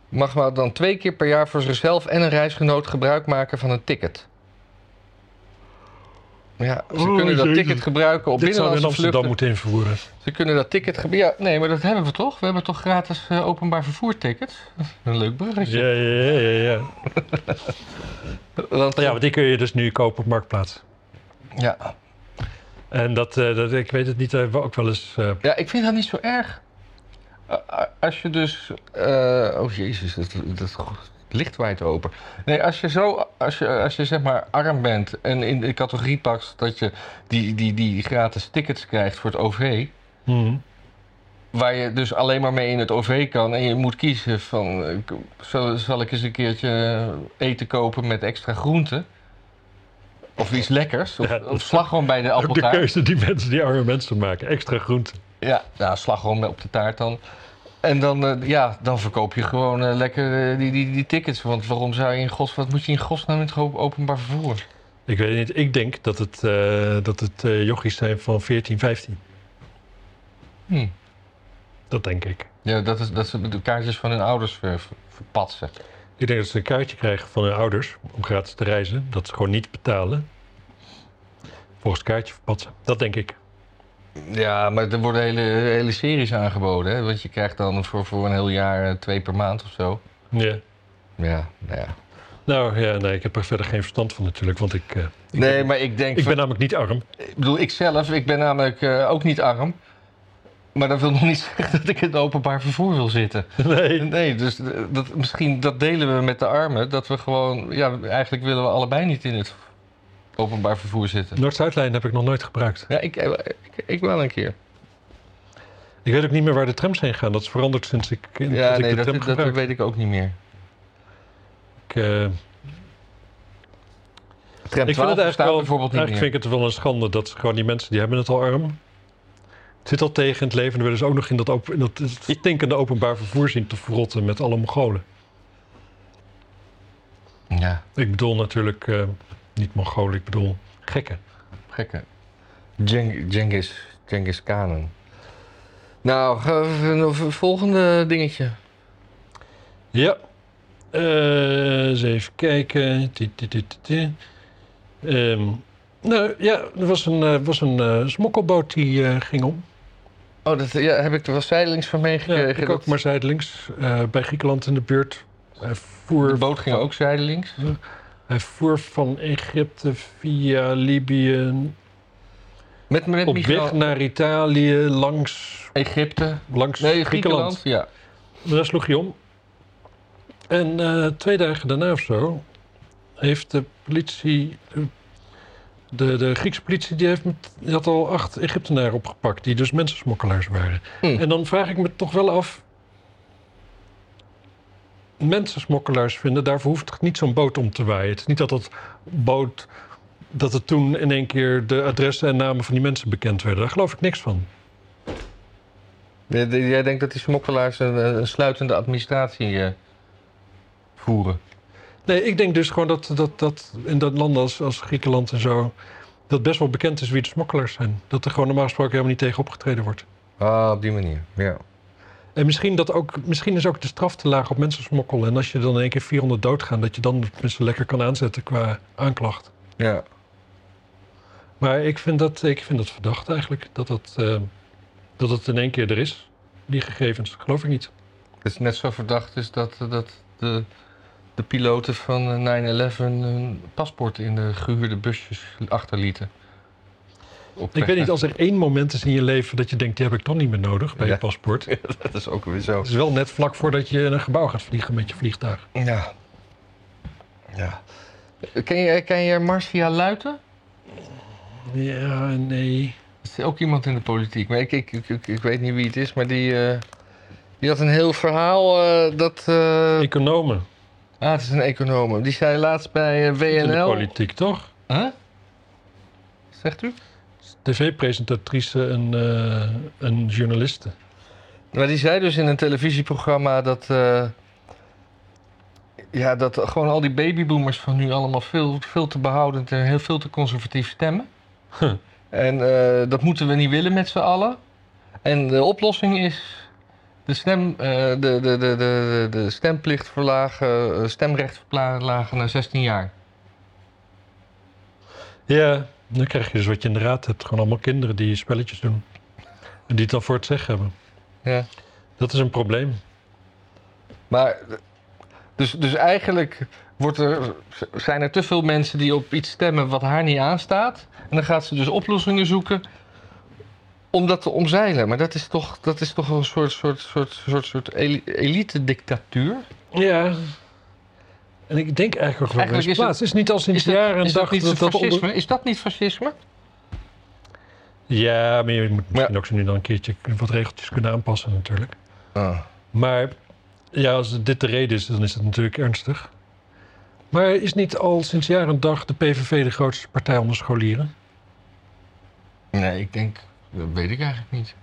mag maar dan twee keer per jaar voor zichzelf en een reisgenoot gebruik maken van een ticket. Ja, ze Oh, kunnen dat jezus. ticket gebruiken op Dit zouden we in binnenlandse Amsterdam vluchten. moeten invoeren. Ze kunnen dat ticket gebruiken. Ja, nee, maar dat hebben we toch? We hebben toch gratis eh, openbaar vervoertickets? Een leuk bruggetje. Ja, ja, ja, ja. ja. Want- Ja, want die kun je dus nu kopen op Marktplaats. ja. En dat, eh, dat ik weet het niet, daar hebben we ook wel eens... eh, Ja, ik vind dat niet zo erg. Eh, eh, Als je dus. eh, oh jezus, dat, dat ligt wijd open. Nee, als je zo. Als je, als je zeg maar arm bent en in de categorie pakt dat je die, die, die gratis tickets krijgt voor het OV. mhm. Waar je dus alleen maar mee in het OV kan en je moet kiezen van. eh, k- Zal, zal ik eens een keertje eten kopen met extra groenten? Of iets lekkers? Of, Ja, dat- of slagroom bij de Ook de appeltaart? keuze die mensen, die arme mensen maken. Extra groente. Ja, nou, slagroom op de taart dan. En dan, eh, ja, dan verkoop je gewoon eh, lekker eh, die, die, die tickets. Want waarom zou je in gods... Wat moet je in godsnaam met het openbaar vervoer? Ik weet niet, ik denk dat het, eh, dat het eh, jochies zijn van 14, 15. Hm. Dat denk ik. Ja, dat, is, dat ze de kaartjes van hun ouders ver, ver- verpatsen. Ik denk dat ze een kaartje krijgen van hun ouders om gratis te reizen. Dat ze gewoon niet betalen. Volgens het kaartje verpatsen. Dat denk ik. Ja, maar er worden hele, hele series aangeboden. Hè? Want je krijgt dan voor, voor een heel jaar eh, twee per maand of zo. Ja. Ja, nou ja. Nou ja, nee, ik heb er verder geen verstand van natuurlijk. Want ik, eh, ik, Nee, ben, maar ik denk... ik van- ben namelijk niet arm. Ik bedoel, ik zelf, ik ben namelijk eh, ook niet arm. Maar dat wil nog niet zeggen dat ik in het openbaar vervoer wil zitten. Nee. Nee, dus eh, dat, misschien dat delen we met de armen. Dat we gewoon, ja, eigenlijk willen we allebei niet in het openbaar vervoer zitten. Noord-Zuidlijn heb ik nog nooit gebruikt. Ja, ik, eh, ik, ik wel een keer. Ik weet ook niet meer waar de trams heen gaan. Dat is veranderd sinds ik, in- Ja, dat nee, ik de dat, tram dat, gebruik. weet ik ook niet meer. Ik, eh, Tram ik vind 12 het eigenlijk bestaat wel, bijvoorbeeld niet eigenlijk meer. vind ik het wel een schande dat ze gewoon die mensen, die hebben het al arm. Het zit al tegen in het leven en dan willen ze ook nog in dat, op- in dat stinkende openbaar vervoer zien te verrotten met alle Mongolen. Ja, Ik bedoel natuurlijk, eh, niet Mongolen, ik bedoel gekken. gekke. Geng- Genghis, Genghis Khanen. Nou, gaan we even naar het volgende dingetje. Ja. Eh, eens even kijken. Ti, ti, ti, ti, ti. Ehm, nou ja, er was een, eh, was een eh, smokkelboot die eh, ging om. Oh, dat ja, heb ik er wel zijdelings van Ja, meegekregen. Eh, ik ook dat- maar zijdelings. eh, bij Griekenland in de buurt. Hij De voer, boot ging ook zijdelings. hij voer van Egypte via Libië. Met, met Op weg migranten. naar Italië, langs, Egypte. langs Nee, Griekenland. Griekenland. Ja. Maar daar sloeg hij om. En eh, twee dagen daarna of zo heeft de politie, eh, de, de Griekse politie, die, heeft met, die had al acht Egyptenaren opgepakt, die dus mensensmokkelaars waren. Hm. En dan vraag ik me toch wel af, mensensmokkelaars vinden, daarvoor hoeft toch niet zo'n boot om te waaien. Het is niet dat dat boot, dat het toen in één keer de adressen en namen van die mensen bekend werden. Daar geloof ik niks van. Jij- Jij denkt dat die smokkelaars een, eh, een sluitende administratie eh, voeren? Nee, ik denk dus gewoon dat, dat, dat in dat landen als, als Griekenland en zo... dat best wel bekend is wie de smokkelaars zijn. Dat er gewoon normaal gesproken helemaal niet tegen opgetreden wordt. Ah, op die manier, ja. En misschien, dat ook, misschien is ook de straf te laag op mensen smokkelen. En als je dan in één keer 400 doodgaan, dat je dan mensen lekker kan aanzetten qua aanklacht. Ja. Maar ik vind dat, ik vind dat verdacht eigenlijk, dat dat, eh, dat dat in één keer er is. Die gegevens, geloof ik niet. Het is net zo verdacht is dat, eh, dat de, de piloten van eh, 9-11 hun paspoort in de gehuurde busjes achterlieten. Op Ik weg weet niet, naar- als er één moment is in je leven dat je denkt, die heb ik toch niet meer nodig bij Ja. je paspoort. Dat is ook weer zo. Het is wel net vlak voordat je in een gebouw gaat vliegen met je vliegtuig. Ja. Ja. Ken je, ken je Marcia Luiten? Ja, nee. Er is ook iemand in de politiek, maar ik, ik, ik, ik, ik weet niet wie het is, maar die, eh, die had een heel verhaal eh, dat... eh, Economen Ah, het is een econoom. Die zei laatst bij eh, in de WNL... politiek, toch? Huh? Zegt u? TV-presentatrice en, eh, en journaliste. Maar die zei dus in een televisieprogramma dat... eh, ja, dat gewoon al die babyboomers van nu allemaal veel, veel te behoudend en heel veel te conservatief stemmen. Huh. En eh, dat moeten we niet willen met z'n allen. En de oplossing is de, stem, eh, de, de, de, de, de stemplicht verlagen, eh, stemrecht verlagen naar 16 jaar. Ja, dan krijg je dus wat je in de raad hebt. Gewoon allemaal kinderen die spelletjes doen. En die het dan voor het zeggen hebben. Ja. Dat is een probleem. Maar, dus, dus eigenlijk wordt er, zijn er te veel mensen die op iets stemmen wat haar niet aanstaat. En dan gaat ze dus oplossingen zoeken om dat te omzeilen. Maar dat is toch, dat is toch een soort, soort, soort, soort, soort eli- elite-dictatuur? Ja. En ik denk eigenlijk ook wel Eigenlijk eens is het- plaats. Het is niet al sinds Is dat, jaren en is dat dag niet dat dat fascisme? onder- Is dat niet fascisme? Ja, maar je moet misschien ook zo nu dan een keertje wat regeltjes kunnen aanpassen natuurlijk. Ah. Maar ja, als dit de reden is, dan is het natuurlijk ernstig. Maar is niet al sinds jaar en dag de PVV de grootste partij onder scholieren? Nee, ik denk, dat weet ik eigenlijk niet.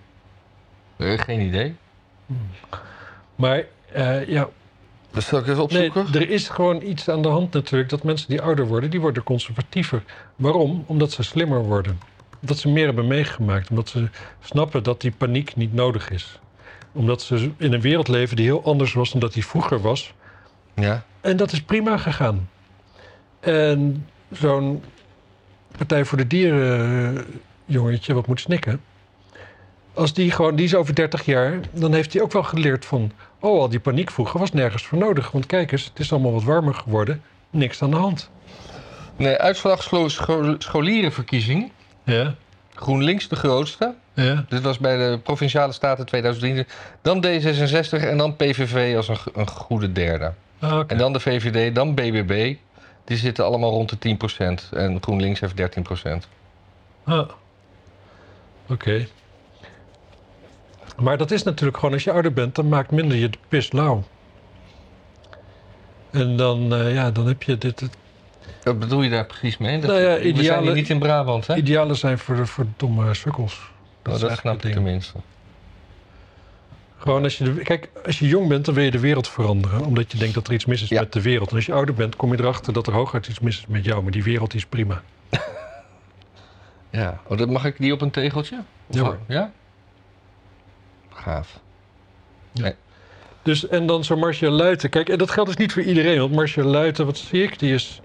Eh, geen idee. Maar eh, ja, Dat Dus zal ik eens nee, opzoeken. er is gewoon iets aan de hand natuurlijk dat mensen die ouder worden, die worden conservatiever. Waarom? Omdat ze slimmer worden. Omdat ze meer hebben meegemaakt. Omdat ze snappen dat die paniek niet nodig is. Omdat ze in een wereld leven die heel anders was dan dat die vroeger was. Ja. En dat is prima gegaan. En zo'n Partij voor de Dieren eh, jongetje wat moet snikken. Als die gewoon, die is over 30 jaar, dan heeft hij ook wel geleerd van. Oh, al die paniek vroeger was nergens voor nodig. Want kijk eens, het is allemaal wat warmer geworden. Niks aan de hand. Nee, uitslag scho- scho- scholierenverkiezing. Ja, GroenLinks de grootste. ja. Dit was bij de Provinciale Staten 2003. Dan D66 en dan PVV als een, g- een goede derde. Ah, oké. En dan de VVD, dan BBB. Die zitten allemaal rond de 10%. En GroenLinks heeft 13%. Ah. Oké. Maar dat is natuurlijk gewoon, als je ouder bent, dan maakt minder je de pis lauw. En dan, eh, ja, dan heb je dit, dit- Wat bedoel je daar precies mee? Dat, Nou ja, We zijn hier ideale- niet in Brabant, hè? Idealen zijn voor, de- voor domme sukkels. Nou, is dat eigenlijk snap het ik tenminste. Gewoon als je, de- kijk, als je jong bent, dan wil je de wereld veranderen. Omdat je denkt dat er iets mis is Ja. met de wereld. En als je ouder bent, kom je erachter dat er hooguit iets mis is met jou. Maar die wereld die is prima. Ja. Oh, dat mag ik die op een tegeltje? Ja hoor. Ja? Gaaf. Dus, en dan zo'n Marcia Luiten. Kijk, en dat geldt dus niet voor iedereen. Want Marcia Luiten, wat zie ik? Die is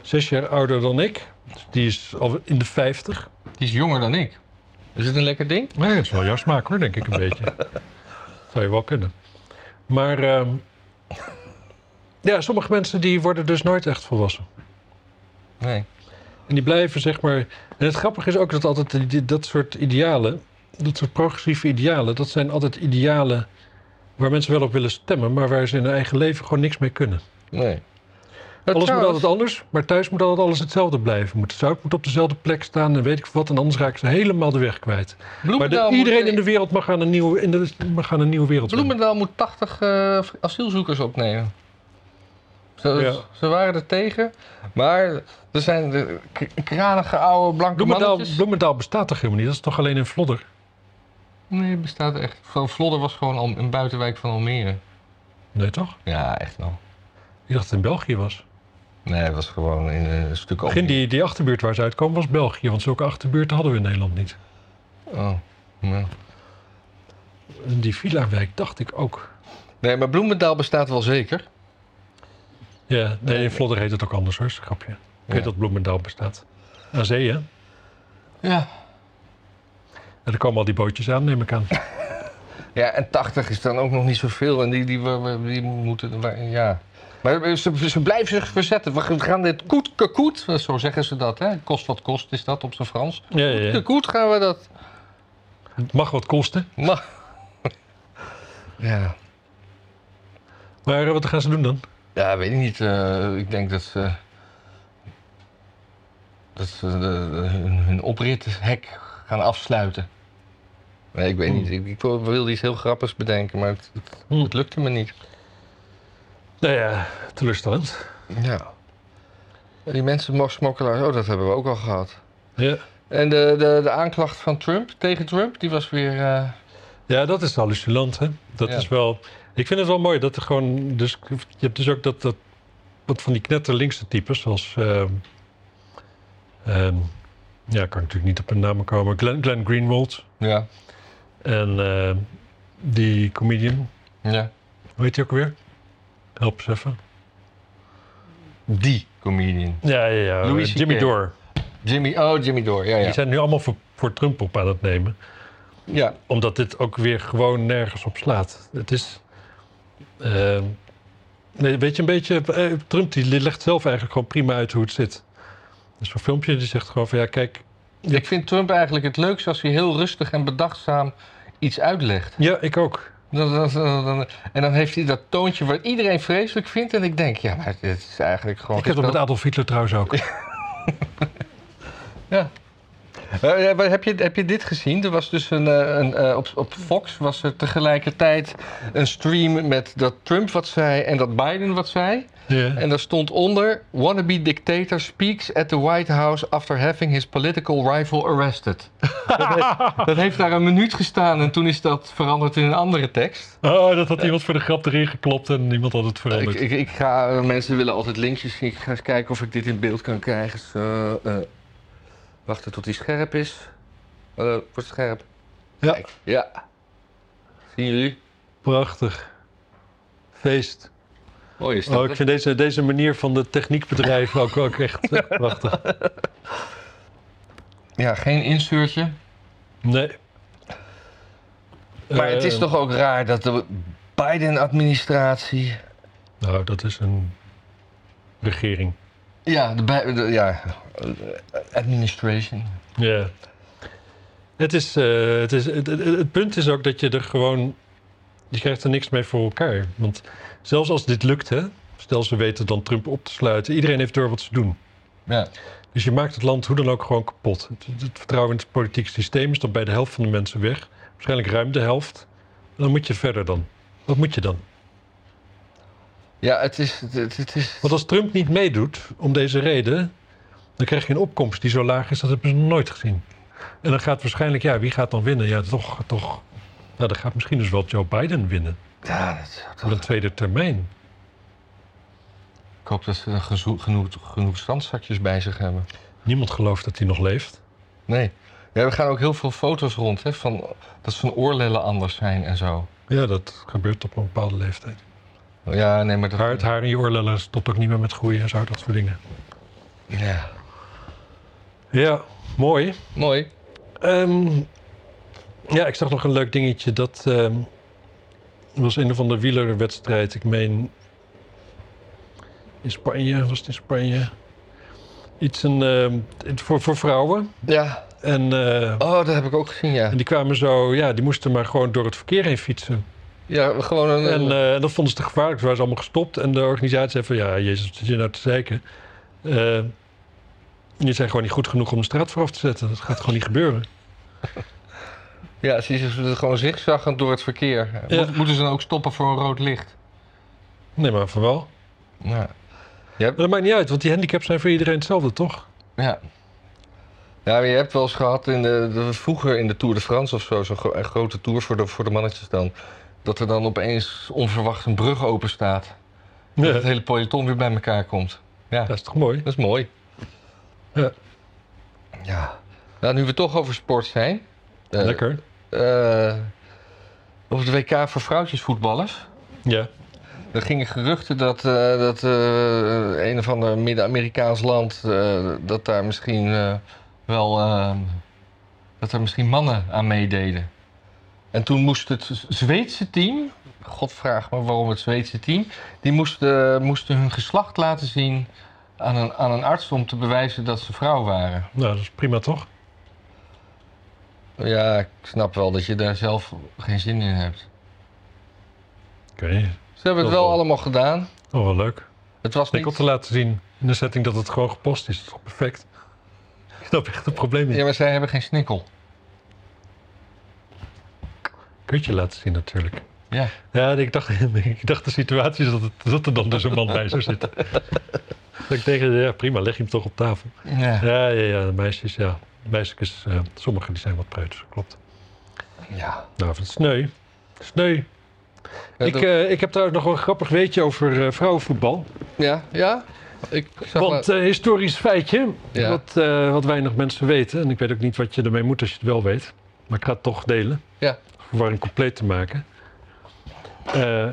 zes jaar ouder dan ik. Dus Die is al in de vijftig. Die is jonger dan ik. Is het een lekker ding? Nee, dat is wel jouw smaak hoor, denk ik een beetje. Zou je wel kunnen. Maar ehm, ja, sommige mensen die worden dus nooit echt volwassen. Nee. En die blijven zeg maar. En het grappige is ook dat altijd die- die- dat soort idealen, dat soort progressieve idealen, dat zijn altijd idealen waar mensen wel op willen stemmen, maar waar ze in hun eigen leven gewoon niks mee kunnen. Nee. Alles Trouwens- moet altijd anders, maar thuis moet altijd alles hetzelfde blijven. Moet zout moet op dezelfde plek staan en weet ik wat, en anders raken ze helemaal de weg kwijt. Maar de- Bloemendaal moet- iedereen in de wereld mag aan een nieuwe, in de, mag aan een nieuwe wereld. wennen. Bloemendaal moet 80 eh, asielzoekers opnemen. Ze, Ja. ze waren er tegen, maar er zijn de k- kranige oude blanke Bloemendaal, mannetjes. Bloemendaal bestaat toch helemaal niet? Dat is toch alleen in Vlodder? nee, het bestaat echt. Van Vlodder was gewoon al een buitenwijk van Almere. Nee toch? Ja, echt nou. Ik dacht dat het in België was. Nee, het was gewoon in eh, een stuk Begin over. die, die achterbuurt waar ze uitkomen was België, want zulke achterbuurten hadden we in Nederland niet. Oh, ja. Die villa-wijk dacht ik ook. Nee, maar Bloemendaal bestaat wel zeker. Ja, nee, in Vlodder heet het ook anders hoor, is een grapje. Ik Ja. weet dat Bloemendaal bestaat. Aan zee, hè? En Ja. er komen al die bootjes aan, neem ik aan. Ja, en 80 is dan ook nog niet zoveel. En die, die, we- we- die moeten. we- Ja. Maar ze, ze blijven zich verzetten. We gaan dit koet kakoet, zo zeggen ze dat, hè? Kost wat kost is dat op zijn Frans. Ja, ja, ja. Kakoet gaan we dat. Het mag wat kosten. Maar... Ja. Maar eh, wat gaan ze doen dan? ja, weet ik niet. eh, ik denk dat ze. dat ze de- de- hun, hun oprithek gaan afsluiten. Nee, ik weet Hmm. niet. Ik, ik wilde iets heel grappigs bedenken, maar het, het, Hmm. het lukte me niet. Nou ja, teleurstellend. Ja. Die mensen mo- smokkelaars, oh, dat hebben we ook al gehad. Ja. En de, de, de aanklacht van Trump tegen Trump, die was weer. eh, ja, dat is hallucinant, hè? Dat Ja. is wel... Ik vind het wel mooi dat er gewoon... Dus, je hebt dus ook dat, dat wat van die knetterlinkse types, zoals... ehm, ehm, ja, kan natuurlijk niet op hun namen komen. Glenn, Glenn Greenwald ja. en ehm, die comedian. ja. Hoe heet hij ook weer? Help eens even. Die comedian. Ja, ja, ja. Louis eh, Jimmy CK. Dore. Jimmy, oh, Jimmy Door, ja, ja. Die zijn nu allemaal voor, voor Trump op aan het nemen. Ja, Omdat dit ook weer gewoon nergens op slaat. Het is... ehm, nee, weet je, een beetje... eh, Trump die legt zelf eigenlijk gewoon prima uit hoe het zit. Dus zo'n filmpje die zegt gewoon van... Ja, kijk... ik vind Trump eigenlijk het leukst als hij heel rustig en bedachtzaam iets uitlegt. Ja, ik ook. Dan, dan- dan- dan- en dan heeft hij dat toontje wat iedereen vreselijk vindt. En ik denk, ja, maar dit is eigenlijk gewoon. ik heb dat met gespeeld. Adolf Hitler trouwens ook. Eh, ja, maar heb, je, heb je dit gezien? Er was dus een, eh, een, eh, op, op Fox was er tegelijkertijd een stream met dat Trump wat zei en dat Biden wat zei. Ja. En daar stond onder: Wannabe dictator speaks at the White House after having his political rival arrested. dat, heeft, dat heeft daar een minuut gestaan en toen is dat veranderd in een andere tekst. Oh, dat had iemand voor de grap erin geklopt en niemand had het Ik, veranderd. ik, ik ga, eh, mensen willen altijd linkjes zien. Ik ga eens kijken of ik dit in beeld kan krijgen. Zo, eh, wachten tot hij scherp is. Hallo, wordt het scherp? Ja. Kijk, ja. Zien jullie? Prachtig. Feest. Mooi is dat. Oh, hè? ik vind deze, deze manier van de techniekbedrijf ook, ook echt eh, prachtig. Ja, geen insertje. Nee. Maar het is Eh, toch ook raar dat de Biden-administratie Nou, dat is een regering. Ja, de, bij- de- ja, eh, administration. Ja. Het, is, eh, het, is, het, het- het punt is ook dat je er gewoon... Je krijgt er niks mee voor elkaar. Want zelfs als dit lukt, hè, stel ze weten dan Trump op te sluiten... iedereen heeft door wat ze doen. Ja. Dus je maakt het land hoe dan ook gewoon kapot. Het, het- het vertrouwen in het politieke systeem is dan bij de helft van de mensen weg. Waarschijnlijk ruim de helft. En dan moet je verder dan. Wat moet je dan? Ja, het is, het, het is... Want als Trump niet meedoet, om deze reden, dan krijg je een opkomst die zo laag is, dat hebben ze nog nooit gezien. En dan gaat waarschijnlijk, ja, wie gaat dan winnen? Ja, toch, toch. Nou, dan gaat misschien dus wel Joe Biden winnen. Ja, dat zou toch- Voor een tweede termijn. Ik hoop dat ze er gezo- genoeg, genoeg zandzakjes bij zich hebben. Niemand gelooft dat hij nog leeft. Nee. Ja, we gaan ook heel veel foto's rond, hè, van, dat zijn oorlellen anders zijn en zo. Ja, dat gebeurt op een bepaalde leeftijd. Ja, nee, maar dat... Maar het haar in je oorlellen stopt ook niet meer met groeien en zo, dat soort dingen. Ja. Ja, mooi. Mooi. Ehm, ja, ik zag nog een leuk dingetje. Dat ehm, was een of andere wielerwedstrijd. Ik meen in Spanje, was het in Spanje? Iets een, ehm, het voor, voor vrouwen. Ja. En, eh, Oh, dat heb ik ook gezien, ja. en die kwamen zo, ja, die moesten maar gewoon door het verkeer heen fietsen. Ja, gewoon een... En eh, dat vonden ze te gevaarlijk. Toen waren ze allemaal gestopt. En de organisatie zei van, ja, jezus, wat zit je nou te zeiken? Eh die zijn gewoon niet goed genoeg om de straat vooraf te zetten. Dat gaat gewoon niet gebeuren. Ja, ze is gewoon zigzaggend door het verkeer. Ja. Moet- moeten ze dan ook stoppen voor een rood licht? Nee, maar van wel. Ja. Maar dat maakt niet uit, want die handicaps zijn voor iedereen hetzelfde, toch? Ja. Ja, maar je hebt wel eens gehad in de, de- vroeger in de Tour de France of zo, zo'n gro- een grote tour voor de, voor de mannetjes dan, dat er dan opeens onverwacht een brug open staat. Dat het Ja. hele peloton weer bij elkaar komt. Ja, Dat is toch mooi? dat is mooi. Ja. ja. Nou, nu we toch over sport zijn. eh, Lekker. eh, op het WK voor vrouwtjesvoetballers. Ja. Er gingen geruchten dat, eh, dat eh, een of ander Midden-Amerikaans land, eh, dat daar misschien eh, wel, eh, dat er misschien mannen aan meededen. En toen moest het Z- Zweedse team, god vraag me waarom het Zweedse team, die moesten, moesten hun geslacht laten zien aan een, aan een arts om te bewijzen dat ze vrouw waren. Nou, dat is prima toch? Ja, ik snap wel dat je daar zelf geen zin in hebt. Oké. Ze hebben het Heel wel goed. allemaal gedaan. Oh, wel leuk. Het was Ik om niet... te laten zien in de setting dat het gewoon gepost is. Dat is toch perfect? Ik snap echt het probleem niet. Ja, maar zij hebben geen snikkel. Kun je laten zien natuurlijk. Ja. Ja, ik dacht, ik dacht de situatie is dat, het, dat er dan dus een man bij zou zitten. Dat ik tegen, ja prima, leg je hem toch op tafel. Ja. Ja, ja, ja, de meisjes, ja. De meisjes, eh, sommigen die zijn wat preuts, klopt. ja. Nou, van sneu. Sneu. Ik, dat- eh, ik heb trouwens nog wel een grappig weetje over eh, vrouwenvoetbal. Ja, ja. Ik zag Want eh historisch feitje, Ja. wat, eh, wat weinig mensen weten. En ik weet ook niet wat je ermee moet als je het wel weet. Maar ik ga het toch delen. Ja. Om Verwarring compleet te maken. Eh,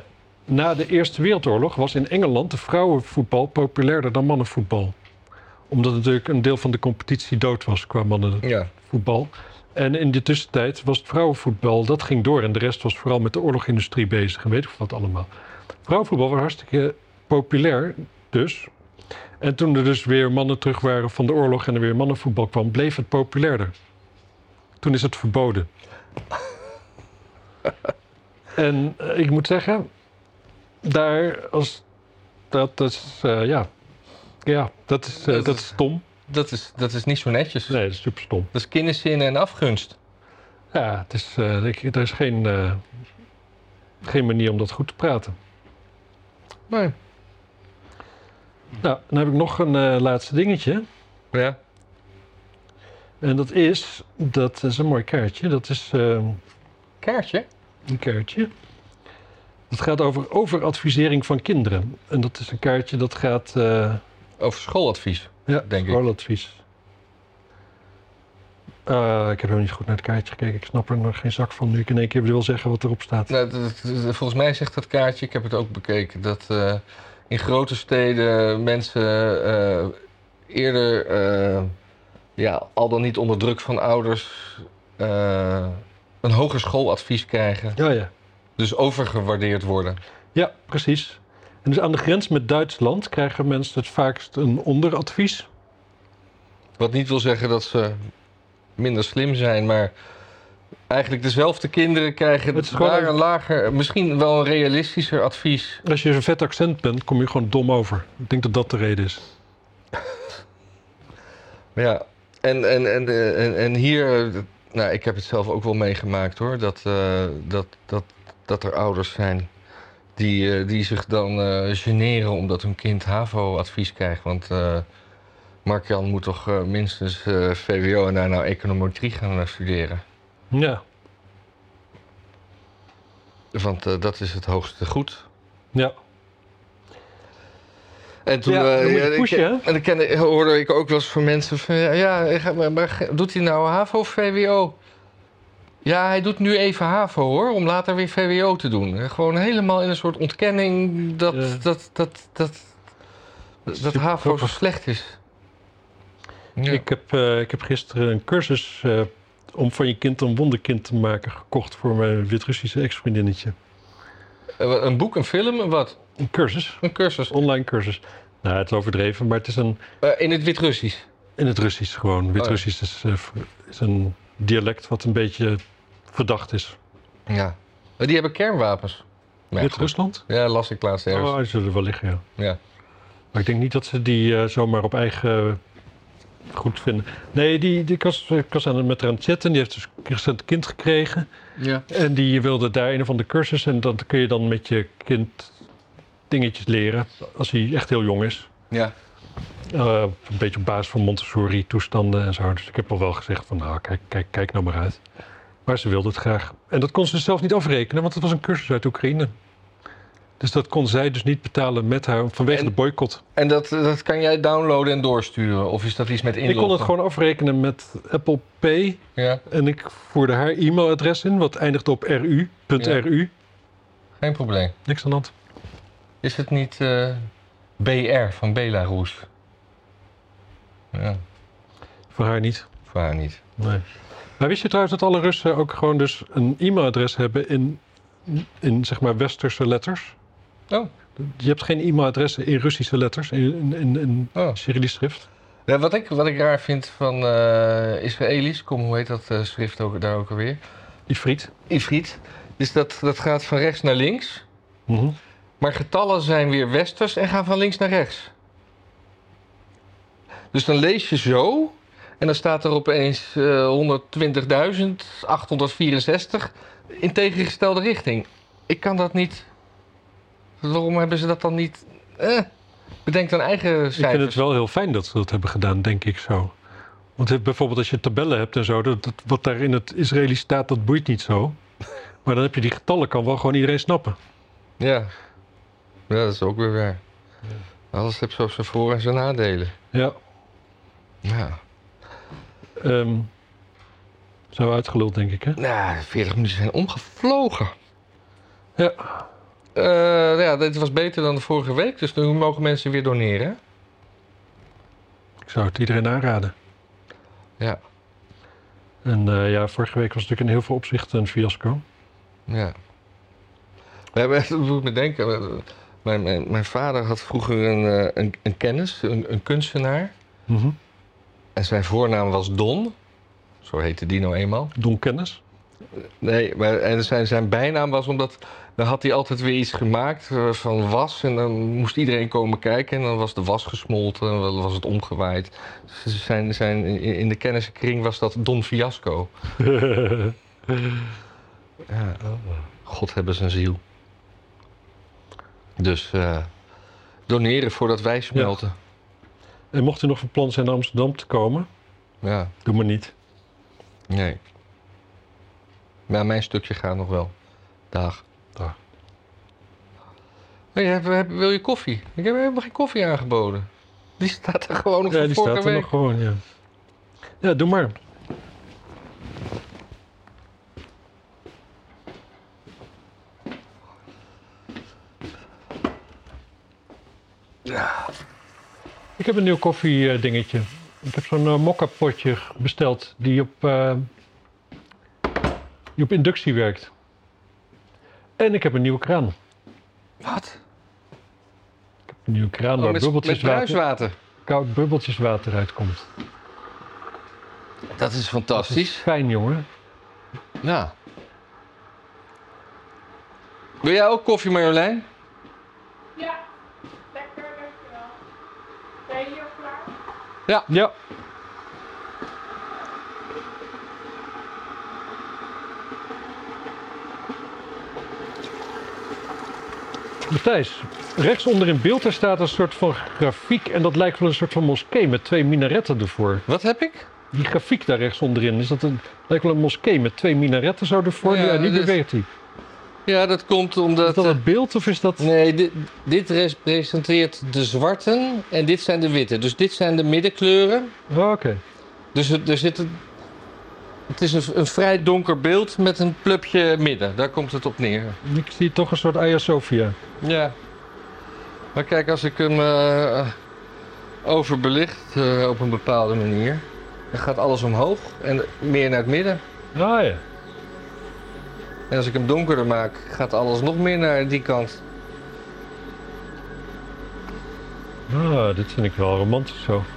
na de Eerste Wereldoorlog was in Engeland de vrouwenvoetbal populairder dan mannenvoetbal. Omdat natuurlijk een deel van de competitie dood was qua mannen ja. voetbal. En in de tussentijd was het vrouwenvoetbal, dat ging door. En de rest was vooral met de oorlogindustrie bezig en weet ik wat allemaal. Vrouwenvoetbal was hartstikke populair dus. En toen er dus weer mannen terug waren van de oorlog en er weer mannenvoetbal kwam, bleef het populairder. Toen is het verboden. en eh, ik moet zeggen, daar als. Dat is. eh, ja. Ja, dat is, eh, Dat dat is- is stom. Dat, is, dat is niet zo netjes. Nee, dat is super stom. Dat is kinderzin en afgunst. Ja, het is, eh, ik- er is geen, eh, geen manier om dat goed te praten. Nee. Nou, dan heb ik nog een eh, laatste dingetje. Ja. En dat is, dat is een mooi kaartje. Dat is eh, Kaartje? een kaartje. Dat gaat over overadvisering van kinderen. En dat is een kaartje dat gaat... eh, Over schooladvies. ja, Denk ik. Rooladvies. Eh, ik heb helemaal niet goed naar het kaartje gekeken. Ik snap er nog geen zak van nu ik in één keer wil zeggen wat erop staat. Nou, dat- dat- dat- volgens mij zegt dat kaartje, ik heb het ook bekeken, dat eh, in grote steden mensen eh, eerder, eh, ja, al dan niet onder druk van ouders, eh, een hoger schooladvies krijgen. Ja, ja. Dus overgewaardeerd worden. Ja, precies. En dus aan de grens met Duitsland krijgen mensen het vaakst een onderadvies. Wat niet wil zeggen dat ze minder slim zijn, maar eigenlijk dezelfde kinderen krijgen Het is gewoon daar een- een lager, misschien wel een realistischer advies. Als je een vet accent bent, kom je gewoon dom over. Ik denk dat dat de reden is. Ja, en, en, en, eh, en, en hier, eh, dat- nou, ik heb het zelf ook wel meegemaakt hoor, dat, eh, dat, dat, dat er ouders zijn die, eh, die zich dan eh generen omdat hun kind HAVO-advies krijgt. Want eh Mark-Jan moet toch eh, minstens eh, VWO en daarna nou econometrie gaan eh, studeren. Ja, Want eh, dat is het hoogste goed. ja. En toen Ja, eh, dan moet je ik- pushen, hè? en dan kende, hoorde ik ook wel eens van mensen van ja, ja, ga- maar, maar ge- doet hij nou HAVO of VWO? Ja, hij doet nu even HAVO hoor, om later weer VWO te doen. Eh, Gewoon helemaal in een soort ontkenning dat, Ja. dat, dat, dat, dat, is dat super HAVO zo grappig. slecht is. Ja. Ik, heb, eh, ik heb gisteren een cursus eh, om van je kind een wonderkind te maken gekocht voor mijn Wit-Russische ex-vriendinnetje. Eh, wat, Een boek, een film, een wat? Een cursus, Een cursus. online cursus. Nou, het is overdreven, maar het is een, Eh, in het Wit-Russisch. in het Russisch Oh gewoon. Wit-Russisch is, eh, is een dialect wat een beetje verdacht is. Ja. Eh, Die hebben kernwapens. Maar ja, goed. Wit-Rusland? Ja, las ik laatst ergens. Oh, die zullen er wel liggen, ja. Ja. Maar ik denk niet dat ze die eh, zomaar op eigen goed vinden. Nee, die, die, ik, was, ik was aan het met haar aan het chatten. Die heeft dus recent een kind gekregen. Ja. En die wilde daar een of andere cursus. En dat kun je dan met je kind dingetjes leren. Als hij echt heel jong is. Ja. Eh, een beetje op basis van Montessori-toestanden en zo. Dus ik heb al wel gezegd van, nou, kijk, kijk, kijk nou maar uit. Maar ze wilde het graag. En dat kon ze zelf niet afrekenen, want het was een cursus uit Oekraïne. Dus dat kon zij dus niet betalen met haar vanwege En- de boycott. En dat, dat kan jij downloaden en doorsturen? Of is dat iets met Ik inloggen? kon het gewoon afrekenen met Apple Pay. Ja, En ik voerde haar e-mailadres in, wat eindigde op ru.ru. geen probleem. Niks aan de hand. Is het niet eh, BR van Belarus? Ja, Voor haar niet. voor haar niet. Nee. Maar wist je trouwens dat alle Russen ook gewoon dus een e-mailadres hebben in, in zeg maar westerse letters? Oh. Je hebt geen e-mailadressen in Russische letters, in, in, in, in Oh. Cyrillisch schrift. Ja, wat, ik, wat ik raar vind van eh Israëli's, kom, hoe heet dat eh, schrift ook, daar ook alweer? Ifrit. Ifrit. Dus dat, dat gaat van rechts naar links. Mhm. Maar getallen zijn weer westers en gaan van links naar rechts. Dus dan lees je zo. En dan staat er opeens eh 120.864 in tegengestelde richting. Ik kan dat niet. Waarom hebben ze dat dan niet? Eh, bedenk dan eigen Ik vind het cijfers. wel heel fijn dat ze dat hebben gedaan, denk ik zo. Want het- bijvoorbeeld als je tabellen hebt en zo, dat, dat- wat daar in het Israëlisch staat, dat boeit niet zo. Maar dan heb je die getallen, kan wel gewoon iedereen snappen. Ja. ja, dat is ook weer waar. Alles heeft zo zijn voor- en zijn nadelen. Ja, Ja. ehm zo uitgeluld denk ik, hè? Nou, 40 minuten zijn omgevlogen. Ja. Eh, nou ja, dit was beter dan de vorige week, dus nu mogen mensen weer doneren. Ik zou het iedereen aanraden. Ja. En eh, ja, vorige week was het natuurlijk in heel veel opzichten een fiasco. Ja. We hebben echt, moet me denken. eh, Mijn, mijn, mijn vader had vroeger een, eh, een, een kennis, een, een kunstenaar. Mhm. En zijn voornaam was Don. Zo heette die nou eenmaal. Don Kennis. Nee, maar, en zijn, zijn bijnaam was omdat. Dan had hij altijd weer iets gemaakt eh, van was. En dan moest iedereen komen kijken. En dan was de was gesmolten. En dan was het omgewaaid. Dus zijn, zijn, in in de kennissenkring was dat Don Fiasco. Ja. oh, God hebben zijn ziel. Dus eh, doneren voordat wij smelten. en mocht u nog van plan zijn naar Amsterdam te komen, Ja, doe maar niet. nee. Maar mijn stukje gaat nog wel. Dag. Dag. Hey, heb- heb- wil je koffie? Ik heb helemaal geen koffie aangeboden. Die staat er gewoon nog Ja, van die vorige staat er week. nog gewoon, ja. Ja, doe maar. Ik heb een nieuw koffiedingetje. Ik heb zo'n eh, mokka potje g- besteld die op, eh, die op inductie werkt. En ik heb een nieuwe kraan. Wat? Een nieuwe kraan Oh, waar met, met bubbeltjes water, bruiswater. koud bubbeltjes water uitkomt. Dat is Dat is fantastisch. fijn, jongen. Ja. Wil jij ook koffie, Marjolein? Ja, lekker, dankjewel. Ben je al klaar? Ja. Matthijs, rechtsonder in beeld daar staat een soort van grafiek en dat lijkt wel een soort van moskee met twee minaretten ervoor. Wat heb ik? Die grafiek daar rechtsonderin, is dat een, lijkt wel een moskee met twee minaretten zo ervoor? Ja, Ja, die dat is- beweegt hij. Ja, dat komt omdat... Is dat eh, een beeld of is dat... Nee, dit, dit representeert de zwarten en dit zijn de witte. Dus dit zijn de middenkleuren. Oh, Oké. Dus het- er zit een, het is een, een vrij donker beeld met een plupje midden. Daar komt het op neer. Ik zie toch een soort Hagia Sophia. Ja. Maar kijk, als ik hem eh, overbelicht eh, op een bepaalde manier, dan gaat alles omhoog en meer naar het midden. Ah ja. En als ik hem donkerder maak, gaat alles nog meer naar die kant. Ah, dit vind ik wel romantisch zo.